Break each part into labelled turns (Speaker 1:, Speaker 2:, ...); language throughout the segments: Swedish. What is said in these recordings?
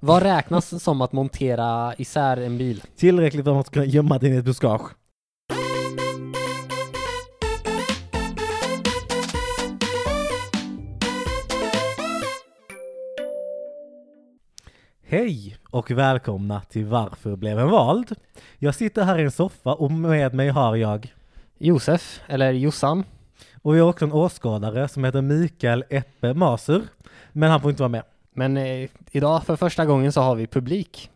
Speaker 1: Vad räknas som att montera isär en bil?
Speaker 2: Tillräckligt för att man ska kunna gömma den i ett buskage. Hej och välkomna till Varför blev en vald? Jag sitter här i en soffa och med mig har jag
Speaker 1: Josef, eller Jossan.
Speaker 2: och vi har också en åskådare som heter Mikael Eppe Maser, men han får inte vara med.
Speaker 1: Men eh, idag för första gången så har vi publik.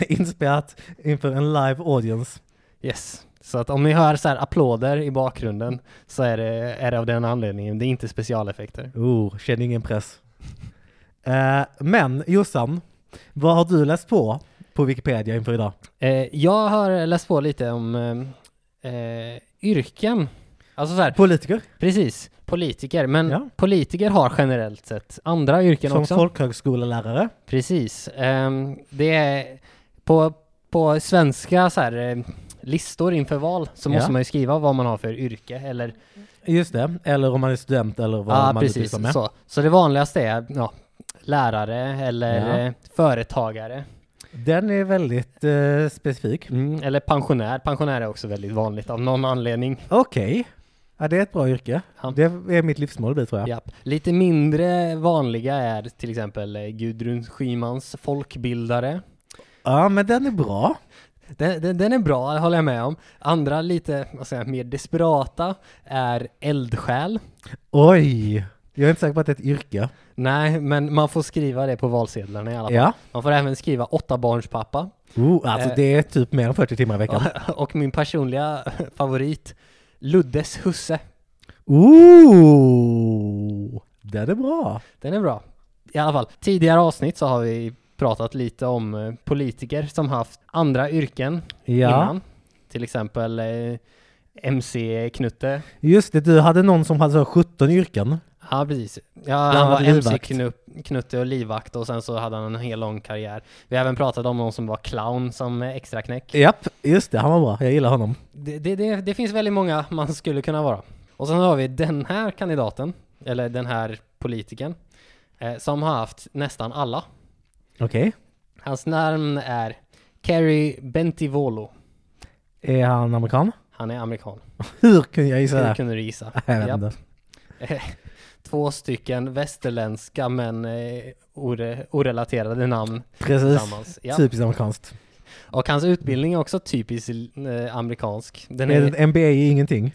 Speaker 2: Inspelat inför en live audience.
Speaker 1: Yes. Så att om ni hör så här applåder i bakgrunden så är det, är det av den anledningen. Det är inte specialeffekter.
Speaker 2: Oh, känner ingen press. Eh, men Jossan, vad har du läst på på Wikipedia inför idag?
Speaker 1: Eh, jag har läst på lite om eh, eh, yrken. Alltså så här,
Speaker 2: Politiker
Speaker 1: precis, politiker. Men
Speaker 2: Ja.
Speaker 1: politiker har generellt sett andra yrken
Speaker 2: som
Speaker 1: också.
Speaker 2: folkhögskolelärare.
Speaker 1: Precis. Ehm, det är på, på svenska så här, eh, listor inför val så
Speaker 2: Ja.
Speaker 1: måste man ju skriva vad man har för yrke eller
Speaker 2: Just det, eller om man är student eller vad
Speaker 1: ja,
Speaker 2: man nu
Speaker 1: precis
Speaker 2: pysslar med.
Speaker 1: så. Så det vanligaste är ja, lärare eller
Speaker 2: Ja.
Speaker 1: eh, företagare
Speaker 2: Den är väldigt eh, specifik.
Speaker 1: mm, eller pensionär. Pensionär är också väldigt vanligt av någon anledning.
Speaker 2: Okej, ja, det är ett bra yrke.
Speaker 1: Ja.
Speaker 2: Det är mitt livsmål det tror jag.
Speaker 1: Japp. Lite mindre vanliga är till exempel eh, Gudrun Schymans folkbildare.
Speaker 2: Ja, men den är bra.
Speaker 1: Den, den, den är bra, det håller jag med om. Andra lite vad ska jag, säga, mer desperata är eldsjäl.
Speaker 2: Oj, jag är inte säker på att det är ett yrke.
Speaker 1: Nej, men man får skriva det på valsedlarna i alla fall.
Speaker 2: Ja.
Speaker 1: Man får även skriva åtta barns pappa.
Speaker 2: Oh, alltså
Speaker 1: Eh.
Speaker 2: det är typ mer än 40 timmar i veckan.
Speaker 1: Och min personliga favorit, Luddes husse.
Speaker 2: Ooh, Oh, den är bra.
Speaker 1: Den är bra. I alla fall, tidigare avsnitt så har vi pratat lite om eh, politiker som haft andra yrken innan. Till exempel eh, MC-Knutte.
Speaker 2: Just det, du hade någon som hade så här 17 yrken.
Speaker 1: Ja, precis. Ja,
Speaker 2: han
Speaker 1: han var
Speaker 2: var livvakt.
Speaker 1: MC-Knutte och livvakt och sen så hade han en hel lång karriär. Vi har även pratat om någon som var clown som eh, extra knäck.
Speaker 2: Japp, just det, han var bra. Jag gillar honom.
Speaker 1: Det, det, det, det finns väldigt många man skulle kunna vara. Och sen har vi den här kandidaten, eller den här politikern, eh, som har haft nästan alla.
Speaker 2: Okej.
Speaker 1: Hans namn är Kerry Bentivolo.
Speaker 2: Är han amerikan?
Speaker 1: Han är amerikan.
Speaker 2: Hur kunde jag gissa
Speaker 1: Hur
Speaker 2: det?
Speaker 1: kunde du gissa?
Speaker 2: Jag vet
Speaker 1: Japp.
Speaker 2: inte.
Speaker 1: Två stycken västerländska men eh, ore, orelaterade namn
Speaker 2: Precis. Typ.
Speaker 1: tillsammans. Ja.
Speaker 2: Typiskt amerikanskt.
Speaker 1: Och hans utbildning är också typiskt eh, amerikansk. Den
Speaker 2: Är
Speaker 1: är,
Speaker 2: det en MBA i ingenting?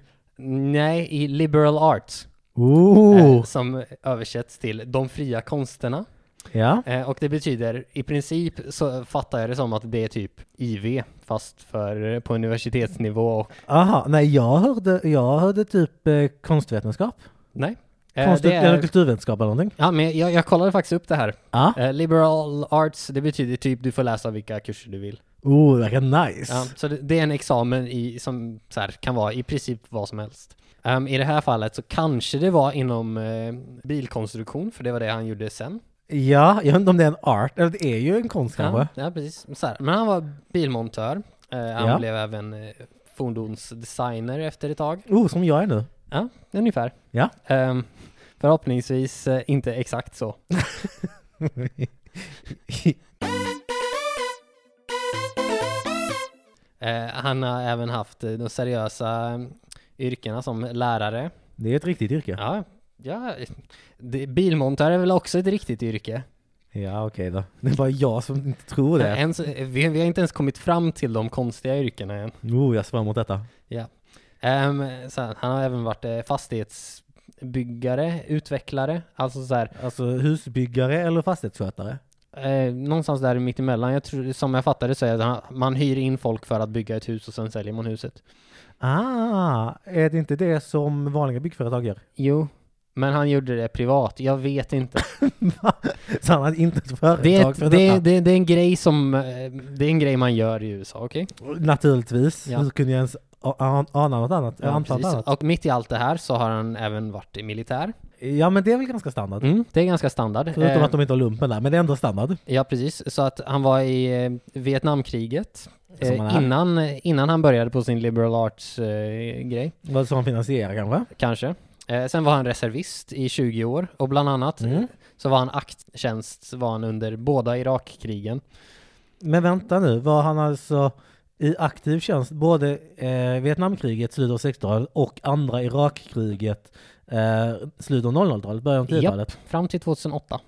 Speaker 1: nej, i liberal arts, eh,
Speaker 2: Ooh,
Speaker 1: som översätts till de fria konsterna.
Speaker 2: ja.
Speaker 1: Eh, och det betyder, i princip så fattar jag det som att det är typ IV, fast för, på universitetsnivå och, eh,
Speaker 2: Aha, nej jag hörde, jag hörde typ eh, konstvetenskap.
Speaker 1: nej. Eh,
Speaker 2: Konst
Speaker 1: det
Speaker 2: eller
Speaker 1: är,
Speaker 2: kulturvetenskap eller någonting.
Speaker 1: ja, men jag, jag kollade faktiskt upp det här.
Speaker 2: Ja.
Speaker 1: Eh, liberal arts, det betyder typ du får läsa vilka kurser du vill.
Speaker 2: Oh, det verkar nice.
Speaker 1: Ja, så det, det är en examen i, som så här, kan vara i princip vad som helst. Ehm, I det här fallet så kanske det var inom eh, bilkonstruktion, för det var det han gjorde sen.
Speaker 2: Ja, jag vet inte om det är en art, eller det är ju en konst
Speaker 1: Ja,
Speaker 2: kanske.
Speaker 1: ja, precis. Så här. Men han var bilmontör. Eh, han
Speaker 2: Ja.
Speaker 1: blev även eh, fordonsdesigner efter ett tag.
Speaker 2: Oh, som jag är nu.
Speaker 1: Ja, ungefär.
Speaker 2: Ja.
Speaker 1: Ehm, förhoppningsvis eh, inte exakt så. Eh, han har även haft eh, de seriösa eh, yrkena som lärare.
Speaker 2: det är ett riktigt yrke.
Speaker 1: Ja, ja det, bilmontör är väl också ett riktigt yrke.
Speaker 2: Ja, okej då. Det är bara jag som inte tror
Speaker 1: Eh,
Speaker 2: det.
Speaker 1: än så- eh, vi, vi har inte ens kommit fram till de konstiga yrkena än.
Speaker 2: Oh, jag ser fram emot detta.
Speaker 1: Ehm, så här, han har även varit eh, fastighetsbyggare, utvecklare, alltså så här,
Speaker 2: Alltså husbyggare eller fastighetsskötare?
Speaker 1: eh, någonstans där mitt emellan. Jag tror, som jag fattade så är det, han- man hyr in folk för att bygga ett hus och sen säljer man huset.
Speaker 2: Ah, är det inte det som vanliga byggföretag gör?
Speaker 1: Jo, men han gjorde det privat. Jag vet inte.
Speaker 2: Så han hade inte ett företag
Speaker 1: Det är,
Speaker 2: för
Speaker 1: ett, det,
Speaker 2: detta?
Speaker 1: det, det är en grej som, eh, det är en grej man gör i USA, okej?
Speaker 2: Naturligtvis.
Speaker 1: Ja.
Speaker 2: Hur kunde jag ens a- an- ana något annat? Ja, anta något
Speaker 1: precis.
Speaker 2: annat?
Speaker 1: och mitt i allt det här så har han även varit i militär.
Speaker 2: ja, men det är väl ganska standard.
Speaker 1: Mm, det är ganska standard.
Speaker 2: Förutom
Speaker 1: Eh,
Speaker 2: att de inte har lumpen där, men det är ändå standard.
Speaker 1: Ja, precis. Så att han var i eh, Vietnamkriget
Speaker 2: Som man
Speaker 1: eh,
Speaker 2: är.
Speaker 1: innan, innan han började på sin liberal arts-grej,
Speaker 2: Vad som finansierar kanske?
Speaker 1: eh, kanske. Eh, Eh, sen var han reservist i 20 år och bland annat
Speaker 2: Mm.
Speaker 1: så var han akttjänst var han under båda Irakkrigen.
Speaker 2: Men vänta nu, var han alltså i aktiv tjänst både eh, Vietnamkriget, slutet av 60-talet och andra Irakkriget, eh, slutet av 00-talet, början av 10-talet?
Speaker 1: Fram till 2008.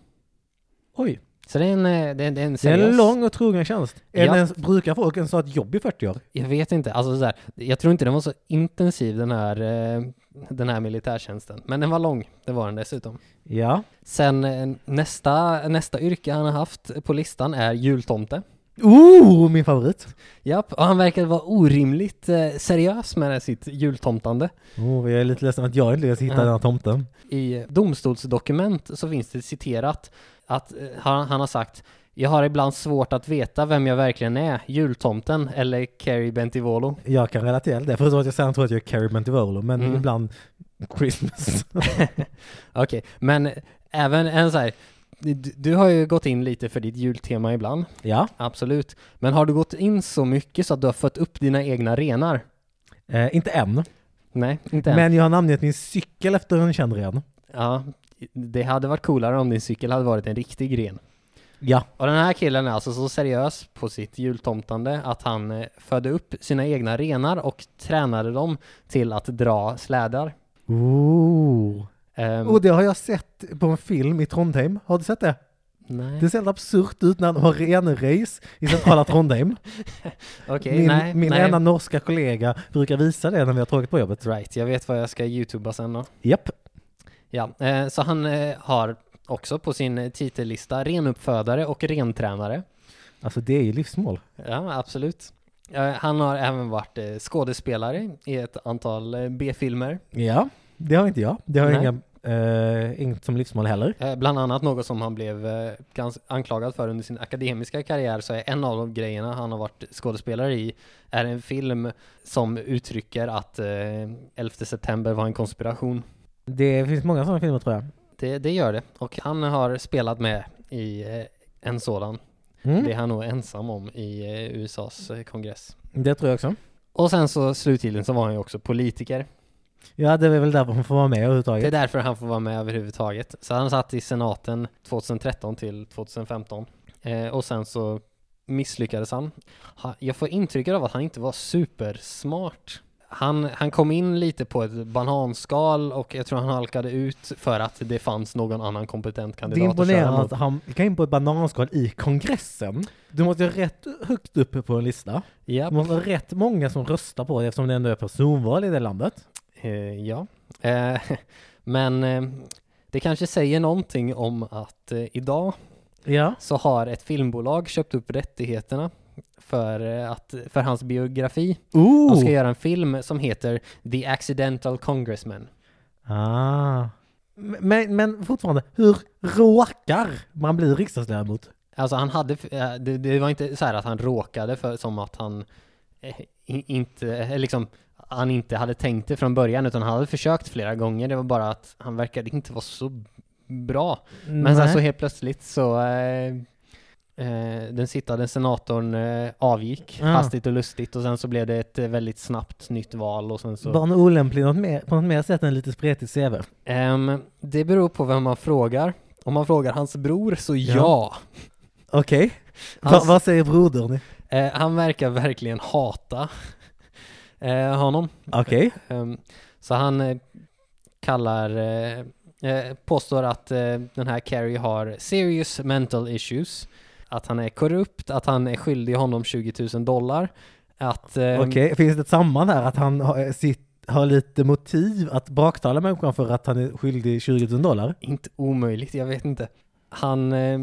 Speaker 2: Oj,
Speaker 1: Så det är en, eh, det är, det är en
Speaker 2: det är
Speaker 1: seriös...
Speaker 2: en lång och trogen tjänst. Är
Speaker 1: Japp.
Speaker 2: det ens, brukar folk ens ha ett jobb i 40 år?
Speaker 1: Jag vet inte, alltså så här, jag tror inte den var så intensiv den här, eh, den här militärtjänsten. Men den var lång, det var den dessutom.
Speaker 2: Ja.
Speaker 1: Sen eh, nästa, nästa yrke han har haft på listan är jultomte.
Speaker 2: Oh, min favorit!
Speaker 1: Japp, och han verkar vara orimligt eh, seriös med sitt jultomtande.
Speaker 2: Oh, jag är lite ledsen att jag inte lyckas hitta
Speaker 1: Ja.
Speaker 2: den här tomten.
Speaker 1: I domstolsdokument så finns det citerat att eh, han, han har sagt jag har ibland svårt att veta vem jag verkligen är, jultomten eller Carrie Bentivolo.
Speaker 2: Jag kan relatera till det, förutom att jag sällan tror att jag är Carrie Bentivolo, men
Speaker 1: Mm.
Speaker 2: ibland Christmas.
Speaker 1: Okej, men även en så här, du, du har ju gått in lite för ditt jultema ibland,
Speaker 2: ja.
Speaker 1: absolut. Men har du gått in så mycket så att du har fött upp dina egna renar?
Speaker 2: Eh, inte än,
Speaker 1: Nej, inte än.
Speaker 2: men jag har namngett min cykel efter en känd ren.
Speaker 1: Ja, det hade varit coolare om din cykel hade varit en riktig ren.
Speaker 2: Ja.
Speaker 1: Och den här killen är alltså så seriös på sitt jultomtande att han eh, födde upp sina egna renar och tränade dem till att dra slädar.
Speaker 2: Ooh.
Speaker 1: Ehm,
Speaker 2: Och det har jag sett på en film i Trondheim. Har du sett det?
Speaker 1: Mm. nej,
Speaker 2: Det ser helt absurt ut när de har renrace i centrala Trondheim.
Speaker 1: okej,
Speaker 2: min
Speaker 1: nej,
Speaker 2: min
Speaker 1: nej.
Speaker 2: ena norska kollega brukar visa det när vi har tråkigt på jobbet.
Speaker 1: Right, jag vet vad jag ska youtuba sen då.
Speaker 2: Japp.
Speaker 1: Ja, eh, så han eh, har också på sin eh, titellista renuppfödare och rentränare.
Speaker 2: Alltså det är ju livsmål.
Speaker 1: Ja, absolut. Eh, han har även varit eh, skådespelare i ett antal eh, B-filmer.
Speaker 2: Ja. Det har inte jag. Det har jag
Speaker 1: Nej.
Speaker 2: inga, eh, inget som livsmål heller.
Speaker 1: Eh, Bland annat något som han blev eh, gans- anklagad för under sin akademiska karriär så är en av de grejerna han har varit skådespelare i är en film som uttrycker att eh, 11 september var en konspiration.
Speaker 2: Det finns många sådana filmer tror jag.
Speaker 1: Det, det gör det och han har spelat med i eh, en sådan.
Speaker 2: Mm.
Speaker 1: Det är han nog ensam om i eh, USAs eh, kongress.
Speaker 2: Det tror jag också.
Speaker 1: Och sen så slutligen så var han ju också politiker.
Speaker 2: Ja, det är väl därför man får vara med
Speaker 1: Det är
Speaker 2: överhuvudtaget.
Speaker 1: därför han får vara med överhuvudtaget. Så han satt i senaten 2013 till 2015. Eh, och sen så misslyckades han. Ha, jag får intrycket av att han inte var supersmart. Han, han kom in lite på ett bananskal och jag tror han halkade ut för att det fanns någon annan kompetent
Speaker 2: Det är
Speaker 1: kandidat att köra
Speaker 2: imponerande
Speaker 1: mot.
Speaker 2: att han gick in på ett bananskal i kongressen. Du måste ju ha rätt högt upp på en lista.
Speaker 1: Ja,
Speaker 2: Det måste vara rätt många som röstar på det eftersom det ändå är personval i det landet.
Speaker 1: eh, ja. Eh, men eh, det kanske säger någonting om att eh, idag
Speaker 2: Ja.
Speaker 1: så har ett filmbolag köpt upp rättigheterna för, eh, att, för hans biografi. De ska
Speaker 2: Ooh.
Speaker 1: göra en film som heter The Accidental Congressman.
Speaker 2: Ah. Men, men fortfarande, hur råkar man bli riksdagsledamot?
Speaker 1: Alltså han hade, eh, det, det var inte så här att han råkade för, som att han eh, i- inte, eh, liksom, han inte hade tänkt det från början utan han hade försökt flera gånger. Det var bara att han verkade inte vara så bra. Men sen så helt plötsligt så eh, eh, den sittande senatorn eh, avgick
Speaker 2: Ja.
Speaker 1: hastigt och lustigt och sen så blev det ett eh, väldigt snabbt nytt val och sen så...
Speaker 2: Var han olämplig något mer, på något mer sätt än lite spretigt CV?
Speaker 1: Ehm, det beror på vem man frågar. Om man frågar hans bror så ja.
Speaker 2: Okej. Va-
Speaker 1: Hans-
Speaker 2: Vad säger brodern?
Speaker 1: Eh, han verkar verkligen hata eh, honom.
Speaker 2: Okej.
Speaker 1: Ehm, så han eh, kallar, eh, eh, påstår att eh, den här Carrie har serious mental issues, att han är korrupt, att han är skyldig honom 20 000 dollar, att... ehm,
Speaker 2: Okej, finns det ett samband här att han har, eh, sitt, har lite motiv att baktala människan för att han är skyldig 20 000 dollar?
Speaker 1: Inte omöjligt, jag vet inte. Han, eh,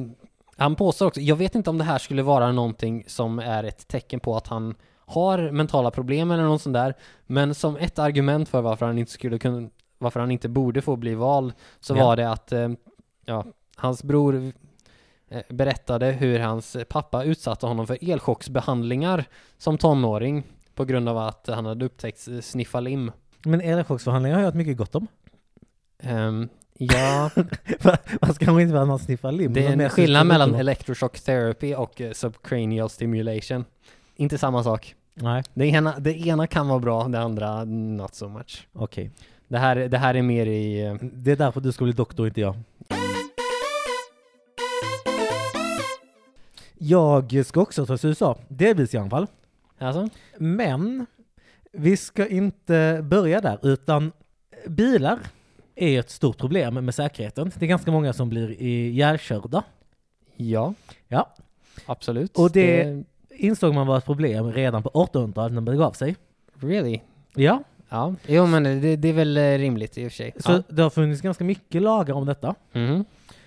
Speaker 1: han påstår också, jag vet inte om det här skulle vara någonting som är ett tecken på att han har mentala problem eller något sånt där, men som ett argument för varför han inte skulle kunna, varför han inte borde få bli vald, så
Speaker 2: Ja.
Speaker 1: var det att eh, ja, hans bror eh, berättade hur hans pappa utsatte honom för elchocksbehandlingar som tonåring på grund av att han hade upptäckt eh, sniffalim.
Speaker 2: Men elchocksförhandlingar har jag hört mycket gott om.
Speaker 1: Ehm, ja,
Speaker 2: Man ska kanske inte vara någon sniffa lim.
Speaker 1: Det är
Speaker 2: men mer
Speaker 1: en skillnad mellan
Speaker 2: symptom.
Speaker 1: electroshock therapy och eh, subcranial stimulation. Inte samma sak.
Speaker 2: Nej,
Speaker 1: Det ena, det ena kan vara bra, det andra not so much.
Speaker 2: okej.
Speaker 1: Det här, det här är mer i... eh,
Speaker 2: Det är därför du ska bli doktor, inte jag. Jag ska också ta oss till USA, delvis i alla fall.
Speaker 1: Alltså?
Speaker 2: Men vi ska inte börja där, utan bilar är ett stort problem med säkerheten. Det är ganska många som blir ihjälkörda.
Speaker 1: Ja.
Speaker 2: Ja.
Speaker 1: Absolut. Eh,
Speaker 2: Och det- Insåg man var ett problem redan på 1800-talet när man begav sig.
Speaker 1: Really?
Speaker 2: Ja,
Speaker 1: Ja. Jo men det, det är väl eh, rimligt i och för sig.
Speaker 2: så
Speaker 1: ja.
Speaker 2: det har funnits ganska mycket lagar om detta.
Speaker 1: Mhm.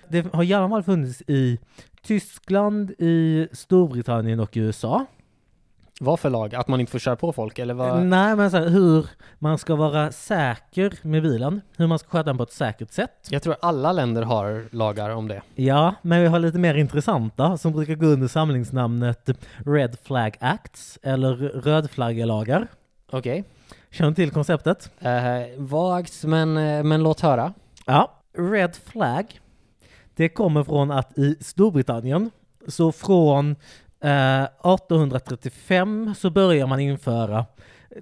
Speaker 2: Det har i alla fall funnits i Tyskland, i Storbritannien och i USA.
Speaker 1: Vad för lag? Att man inte får köra på folk eller vad?
Speaker 2: Nej, men så här, hur man ska vara säker med bilen, hur man ska sköta den på ett säkert sätt.
Speaker 1: Jag tror alla länder har lagar om det.
Speaker 2: Ja, men vi har lite mer intressanta som brukar gå under samlingsnamnet Red Flag Acts eller rödflaggelagar.
Speaker 1: Okej.
Speaker 2: Känner du till konceptet?
Speaker 1: Eh, vagt men, eh, men låt höra.
Speaker 2: Ja. Red Flag, det kommer från att i Storbritannien, så från eh, 1835 så börjar man införa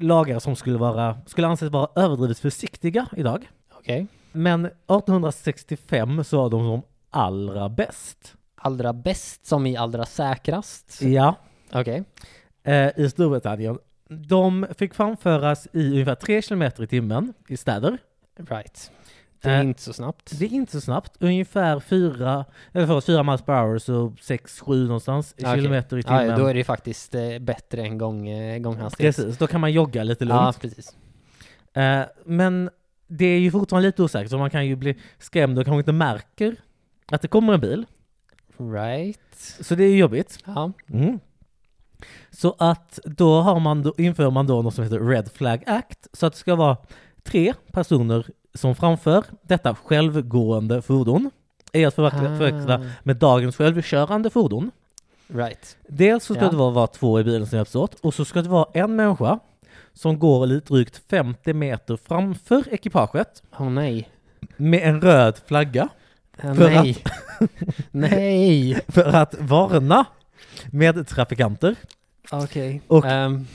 Speaker 2: lagar som skulle, vara, skulle anses vara överdrivet försiktiga idag.
Speaker 1: Okej.
Speaker 2: Men 1865 så var de som allra bäst.
Speaker 1: Allra bäst som i allra säkrast.
Speaker 2: Ja.
Speaker 1: Okej.
Speaker 2: eh, i Storbritannien. De fick framföras i ungefär 3 km i timmen i städer.
Speaker 1: Right. Det är
Speaker 2: Eh,
Speaker 1: inte så snabbt.
Speaker 2: Det är inte så snabbt, ungefär 4, eller förlåt, 4 miles per hour, så 6-7 någonstans i
Speaker 1: Ah, Okej.
Speaker 2: kilometer i
Speaker 1: Ja,
Speaker 2: timmen.
Speaker 1: ja, då är det ju faktiskt eh, bättre än gång, eh, gånghastighet.
Speaker 2: Precis, då kan man jogga lite lugnt.
Speaker 1: Ja, precis. Ah.
Speaker 2: Eh, men det är ju fortfarande lite osäkert, så man kan ju bli skrämd och kanske inte märker att det kommer en bil.
Speaker 1: Right.
Speaker 2: Så det är ju jobbigt.
Speaker 1: Ja.
Speaker 2: Mm. Så att då, har man, då inför man då något som heter Red Flag Act, så att det ska vara tre personer som framför detta självgående fordon är att
Speaker 1: Ah.
Speaker 2: förverkliga- förväxla med dagens självkörande fordon.
Speaker 1: Right.
Speaker 2: Dels så ska
Speaker 1: Ja.
Speaker 2: det vara, vara två i bilen som hjälps åt och så ska det vara en människa som går lite drygt 50 meter framför ekipaget
Speaker 1: Åh nej.
Speaker 2: med en röd flagga
Speaker 1: Eh,
Speaker 2: För
Speaker 1: nej. nej.
Speaker 2: för att varna med trafikanter.
Speaker 1: Okej.
Speaker 2: Och-
Speaker 1: Ehm,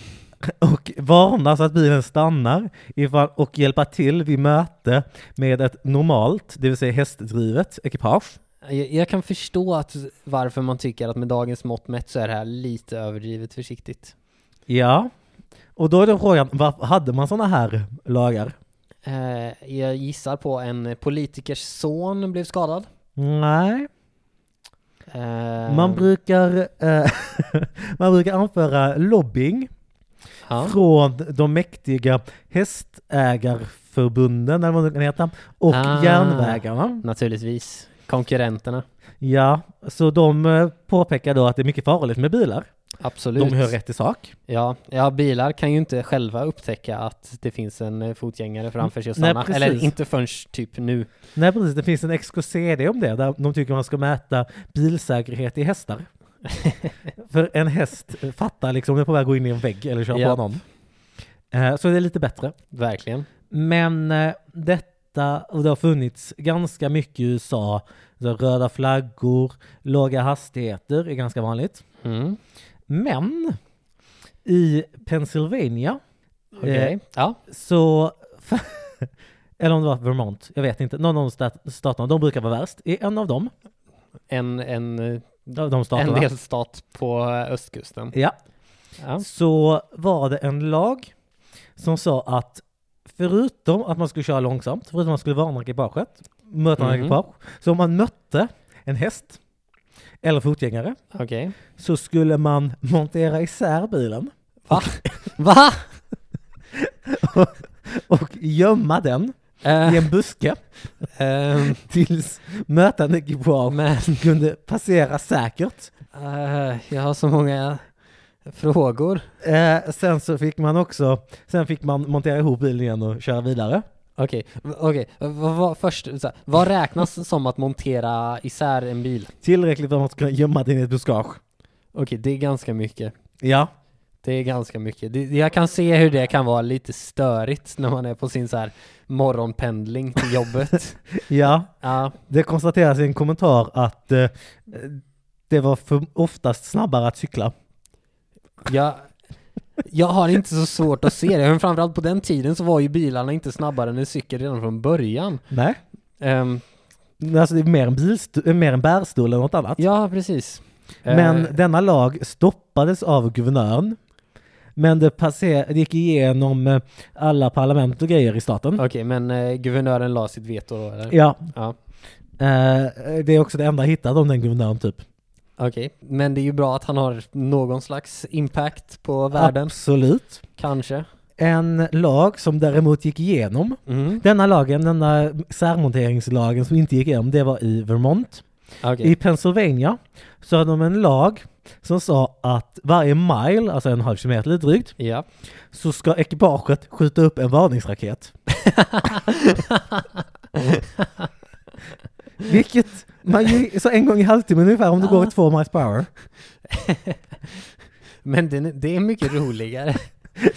Speaker 2: och varna så att bilen stannar ifall, och hjälpa till vid möte med ett normalt, det vill säga hästdrivet ekipage.
Speaker 1: jag, jag kan förstå att varför man tycker att med dagens mått mätt så är det här lite överdrivet försiktigt.
Speaker 2: Ja, och då är då frågan, varför hade man sådana här lagar?
Speaker 1: Eh, jag gissar på en politikers son blev skadad.
Speaker 2: Nej,
Speaker 1: Eh,
Speaker 2: man brukar, eh, man brukar anföra lobbying
Speaker 1: ja.
Speaker 2: från de mäktiga hästägarförbunden, eller vad det kan heta, och
Speaker 1: Ah.
Speaker 2: järnvägarna.
Speaker 1: Naturligtvis. Konkurrenterna.
Speaker 2: Ja, så de eh, påpekar då att det är mycket farligt med bilar.
Speaker 1: Absolut.
Speaker 2: De hör rätt i sak.
Speaker 1: Ja, ja, bilar kan ju inte själva upptäcka att det finns en eh, fotgängare framför sig och
Speaker 2: Nej,
Speaker 1: stanna.
Speaker 2: precis.
Speaker 1: Eller inte förrän typ nu.
Speaker 2: Nej precis, det finns en XKCD om det, där de tycker man ska mäta bilsäkerhet i hästar. För en häst fattar liksom om den är på väg att gå in i en vägg eller köra
Speaker 1: Ja.
Speaker 2: på någon. Eh, Så det är lite bättre.
Speaker 1: Verkligen.
Speaker 2: Men eh, detta, och det har funnits ganska mycket i USA, så röda flaggor, låga hastigheter är ganska vanligt.
Speaker 1: Mm.
Speaker 2: Men i Pennsylvania
Speaker 1: Okej.
Speaker 2: Eh,
Speaker 1: Ja.
Speaker 2: Så, eller om det var Vermont, jag vet inte. Någon av de stat- staterna, de brukar vara värst. I en av dem,
Speaker 1: En, en, eh,
Speaker 2: av de
Speaker 1: en
Speaker 2: staterna,
Speaker 1: delstat på eh, östkusten.
Speaker 2: Ja,
Speaker 1: Ja.
Speaker 2: så var det en lag som sa att förutom att man skulle köra långsamt, förutom att man skulle varna ekipaget, möta mm.
Speaker 1: Mhm.
Speaker 2: ekipage, så om man mötte en häst eller fotgängare
Speaker 1: Okej.
Speaker 2: så skulle man montera isär bilen
Speaker 1: Va?
Speaker 2: och gömma den
Speaker 1: Eh,
Speaker 2: i en buske
Speaker 1: ehm,
Speaker 2: tills mötande ekipage
Speaker 1: men
Speaker 2: kunde passera säkert.
Speaker 1: eh, jag har så många frågor.
Speaker 2: Eh, sen så fick man också, sen fick man montera ihop bilen igen och köra vidare.
Speaker 1: Okej, v- okej. V- vad- först, så här, vad räknas som att montera isär en bil?
Speaker 2: Tillräckligt för att man ska kunna gömma den i ett buskage.
Speaker 1: Okej, det är ganska mycket.
Speaker 2: Ja,
Speaker 1: Det är ganska mycket. Det, jag kan se hur det kan vara lite störigt när man är på sin så här morgonpendling till jobbet.
Speaker 2: ja.
Speaker 1: Ja,
Speaker 2: Det konstateras i en kommentar att eh, det var för oftast snabbare att cykla.
Speaker 1: jag, Jag har inte så svårt att se det, men framförallt på den tiden så var ju bilarna inte snabbare än en cykel redan från början.
Speaker 2: Nej,
Speaker 1: Ehm,
Speaker 2: alltså det är mer en, bilst- mer en bärstol än något annat.
Speaker 1: ja, precis.
Speaker 2: Men
Speaker 1: Eh,
Speaker 2: denna lag stoppades av guvernören. Men det, passer- det gick igenom eh, alla parlament och grejer i staten.
Speaker 1: Okej, men eh, guvernören la sitt veto då eller?
Speaker 2: Ja,
Speaker 1: Ja.
Speaker 2: eh, det är också det enda jag hittade om den guvernören typ.
Speaker 1: Okej, men det är ju bra att han har någon slags impact på världen,
Speaker 2: Absolut.
Speaker 1: kanske.
Speaker 2: En lag som däremot gick igenom.
Speaker 1: Mm.
Speaker 2: Denna lagen, denna särmonteringslagen som inte gick igenom, det var i Vermont.
Speaker 1: Okej.
Speaker 2: I Pennsylvania så hade de en lag som sa att varje mile, alltså en halv kilometer lite drygt,
Speaker 1: Ja.
Speaker 2: så ska ekipaget skjuta upp en varningsraket. Vilket man ju, så en gång i halvtimmen ungefär om du går i två miles per hour.
Speaker 1: Men det, det är mycket roligare.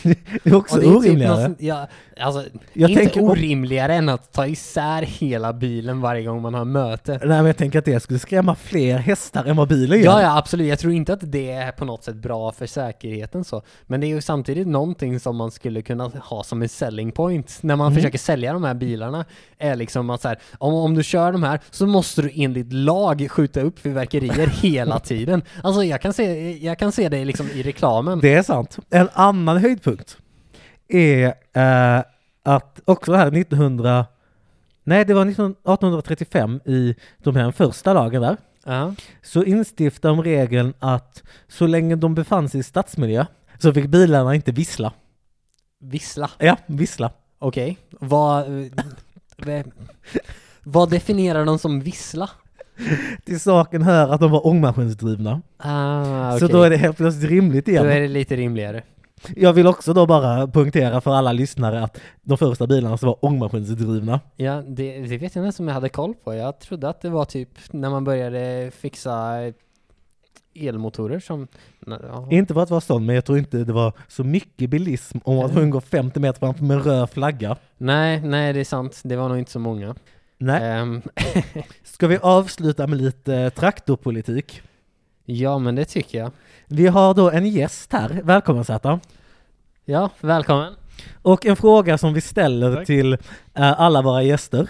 Speaker 2: Det är också
Speaker 1: Och det är typ
Speaker 2: orimligare.
Speaker 1: något- ja, alltså,
Speaker 2: jag
Speaker 1: inte
Speaker 2: tänker, nej
Speaker 1: orimligare än att ta isär hela bilen varje gång man har möte.
Speaker 2: men jag tänker att det skulle skrämma fler hästar än vad bilen gör.
Speaker 1: Ja, ja, absolut. Jag tror inte att det är på något sätt bra för säkerheten så. Men det är ju samtidigt någonting som man skulle kunna ha som en selling point när man
Speaker 2: Mm.
Speaker 1: försöker sälja de här bilarna. Är liksom att så här, om, om du kör de här så måste du enligt lag skjuta upp fyrverkerier hela tiden. Alltså jag kan se, jag kan se det liksom i reklamen.
Speaker 2: Det är sant. En annan höjdpunkt är eh, att också här 1900, nej det var 1900 1835 i de här första lagen där,
Speaker 1: Ja.
Speaker 2: så instiftade de regeln att så länge de befann sig i stadsmiljö så fick bilarna inte vissla.
Speaker 1: Vissla.
Speaker 2: Ja, vissla.
Speaker 1: Okej. Vad... eh, vad- Vad definierar de som vissla?
Speaker 2: Till saken hör att de var ångmaskinsdrivna.
Speaker 1: Ah,
Speaker 2: Så då är det helt plötsligt rimligt igen.
Speaker 1: Då är det lite rimligare.
Speaker 2: Jag vill också då bara punktera för alla lyssnare att de första bilarna som var ångmaskinsdrivna.
Speaker 1: Ja, det, det vet jag inte som jag hade koll på. Jag trodde att det var typ när man började fixa elmotorer som... Ja,
Speaker 2: Inte för att vara sån, men jag tror inte det var så mycket bilism om att hon går 50 meter framför med en röd flagga.
Speaker 1: nej, nej, det är sant. Det var nog inte så många.
Speaker 2: Nej.
Speaker 1: Ehm,
Speaker 2: Ska vi avsluta med lite eh, traktorpolitik?
Speaker 1: ja, men det tycker jag.
Speaker 2: Vi har då en gäst här, välkommen Zäta.
Speaker 1: Ja, välkommen.
Speaker 2: Och en fråga som vi ställer
Speaker 3: Tack.
Speaker 2: till eh, alla våra gäster.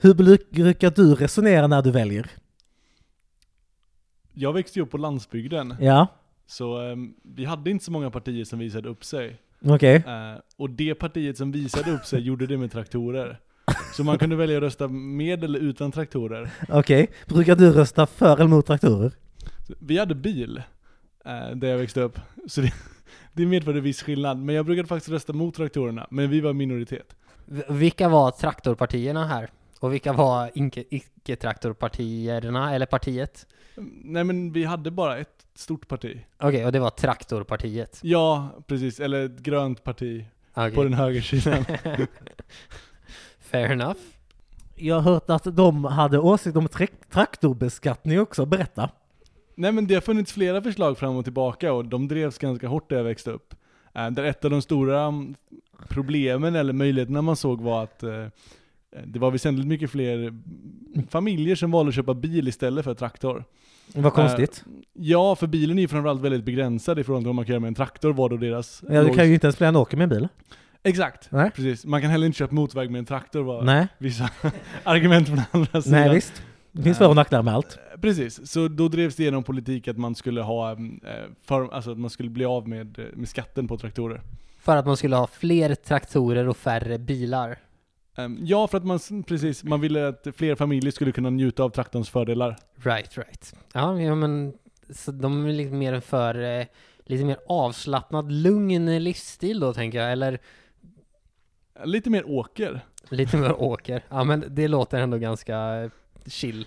Speaker 2: Hur bru- brukar du resonera när du väljer?
Speaker 3: Jag växte ju upp på landsbygden,
Speaker 2: Ja,
Speaker 3: så ehm, vi hade inte så många partier som visade upp sig.
Speaker 2: okej.
Speaker 3: Eh, och det partiet som visade upp sig gjorde det med traktorer. Så man kunde välja att rösta med eller utan traktorer.
Speaker 2: Okej. Brukar du rösta för eller mot traktorer?
Speaker 3: Så Vi hade bil, eh, där jag växte upp. Så det, det medförde viss skillnad. Men jag brukade faktiskt rösta mot traktorerna, men vi var minoritet.
Speaker 1: V- Vilka var traktorpartierna här? Och vilka var inke- icke-traktorpartierna, eller partiet?
Speaker 3: Nej men vi hade bara ett stort parti.
Speaker 1: Okej, och det var traktorpartiet.
Speaker 3: Ja, precis. Eller ett grönt parti
Speaker 1: Okej.
Speaker 3: på den högersidan.
Speaker 1: Fair enough.
Speaker 2: Jag har hört att de hade åsikt om trak- traktorbeskattning också, berätta.
Speaker 3: Nej men det har funnits flera förslag fram och tillbaka och de drevs ganska hårt där jag växte upp. Eh, Där ett av de stora mm, problemen eller möjligheterna man såg var att eh, det var väsentligt mycket fler familjer som valde att köpa bil istället för traktor.
Speaker 2: Vad konstigt.
Speaker 3: Ja, för bilen är ju framförallt väldigt begränsad i förhållande till vad man kan göra med en traktor, vad då deras...
Speaker 2: ja, du kan ju
Speaker 3: logis-
Speaker 2: inte ens fler än åker med en bil.
Speaker 3: Exakt,
Speaker 2: Nej.
Speaker 3: precis. Man kan heller inte köpa motväg med en traktor var
Speaker 2: Nej,
Speaker 3: vissa argument från andra sidan.
Speaker 2: nej visst. Det finns
Speaker 3: Nej.
Speaker 2: för och nackdelar med allt.
Speaker 3: Eh, Precis, så då drevs det igenom politik att man skulle ha, mm, eh, för, alltså att man skulle bli av med, eh, med skatten på traktorer.
Speaker 1: För att man skulle ha fler traktorer och färre bilar.
Speaker 3: Ehm, Ja, för att man, s- precis, man ville att fler familjer skulle kunna njuta av traktorns fördelar.
Speaker 1: Right, right. Ja, ja men så de är lite mer för eh, lite mer avslappnad, lugn livsstil då tänker jag, eller
Speaker 3: Lite mer åker.
Speaker 1: lite mer åker. Ja, men det låter ändå ganska eh, chill.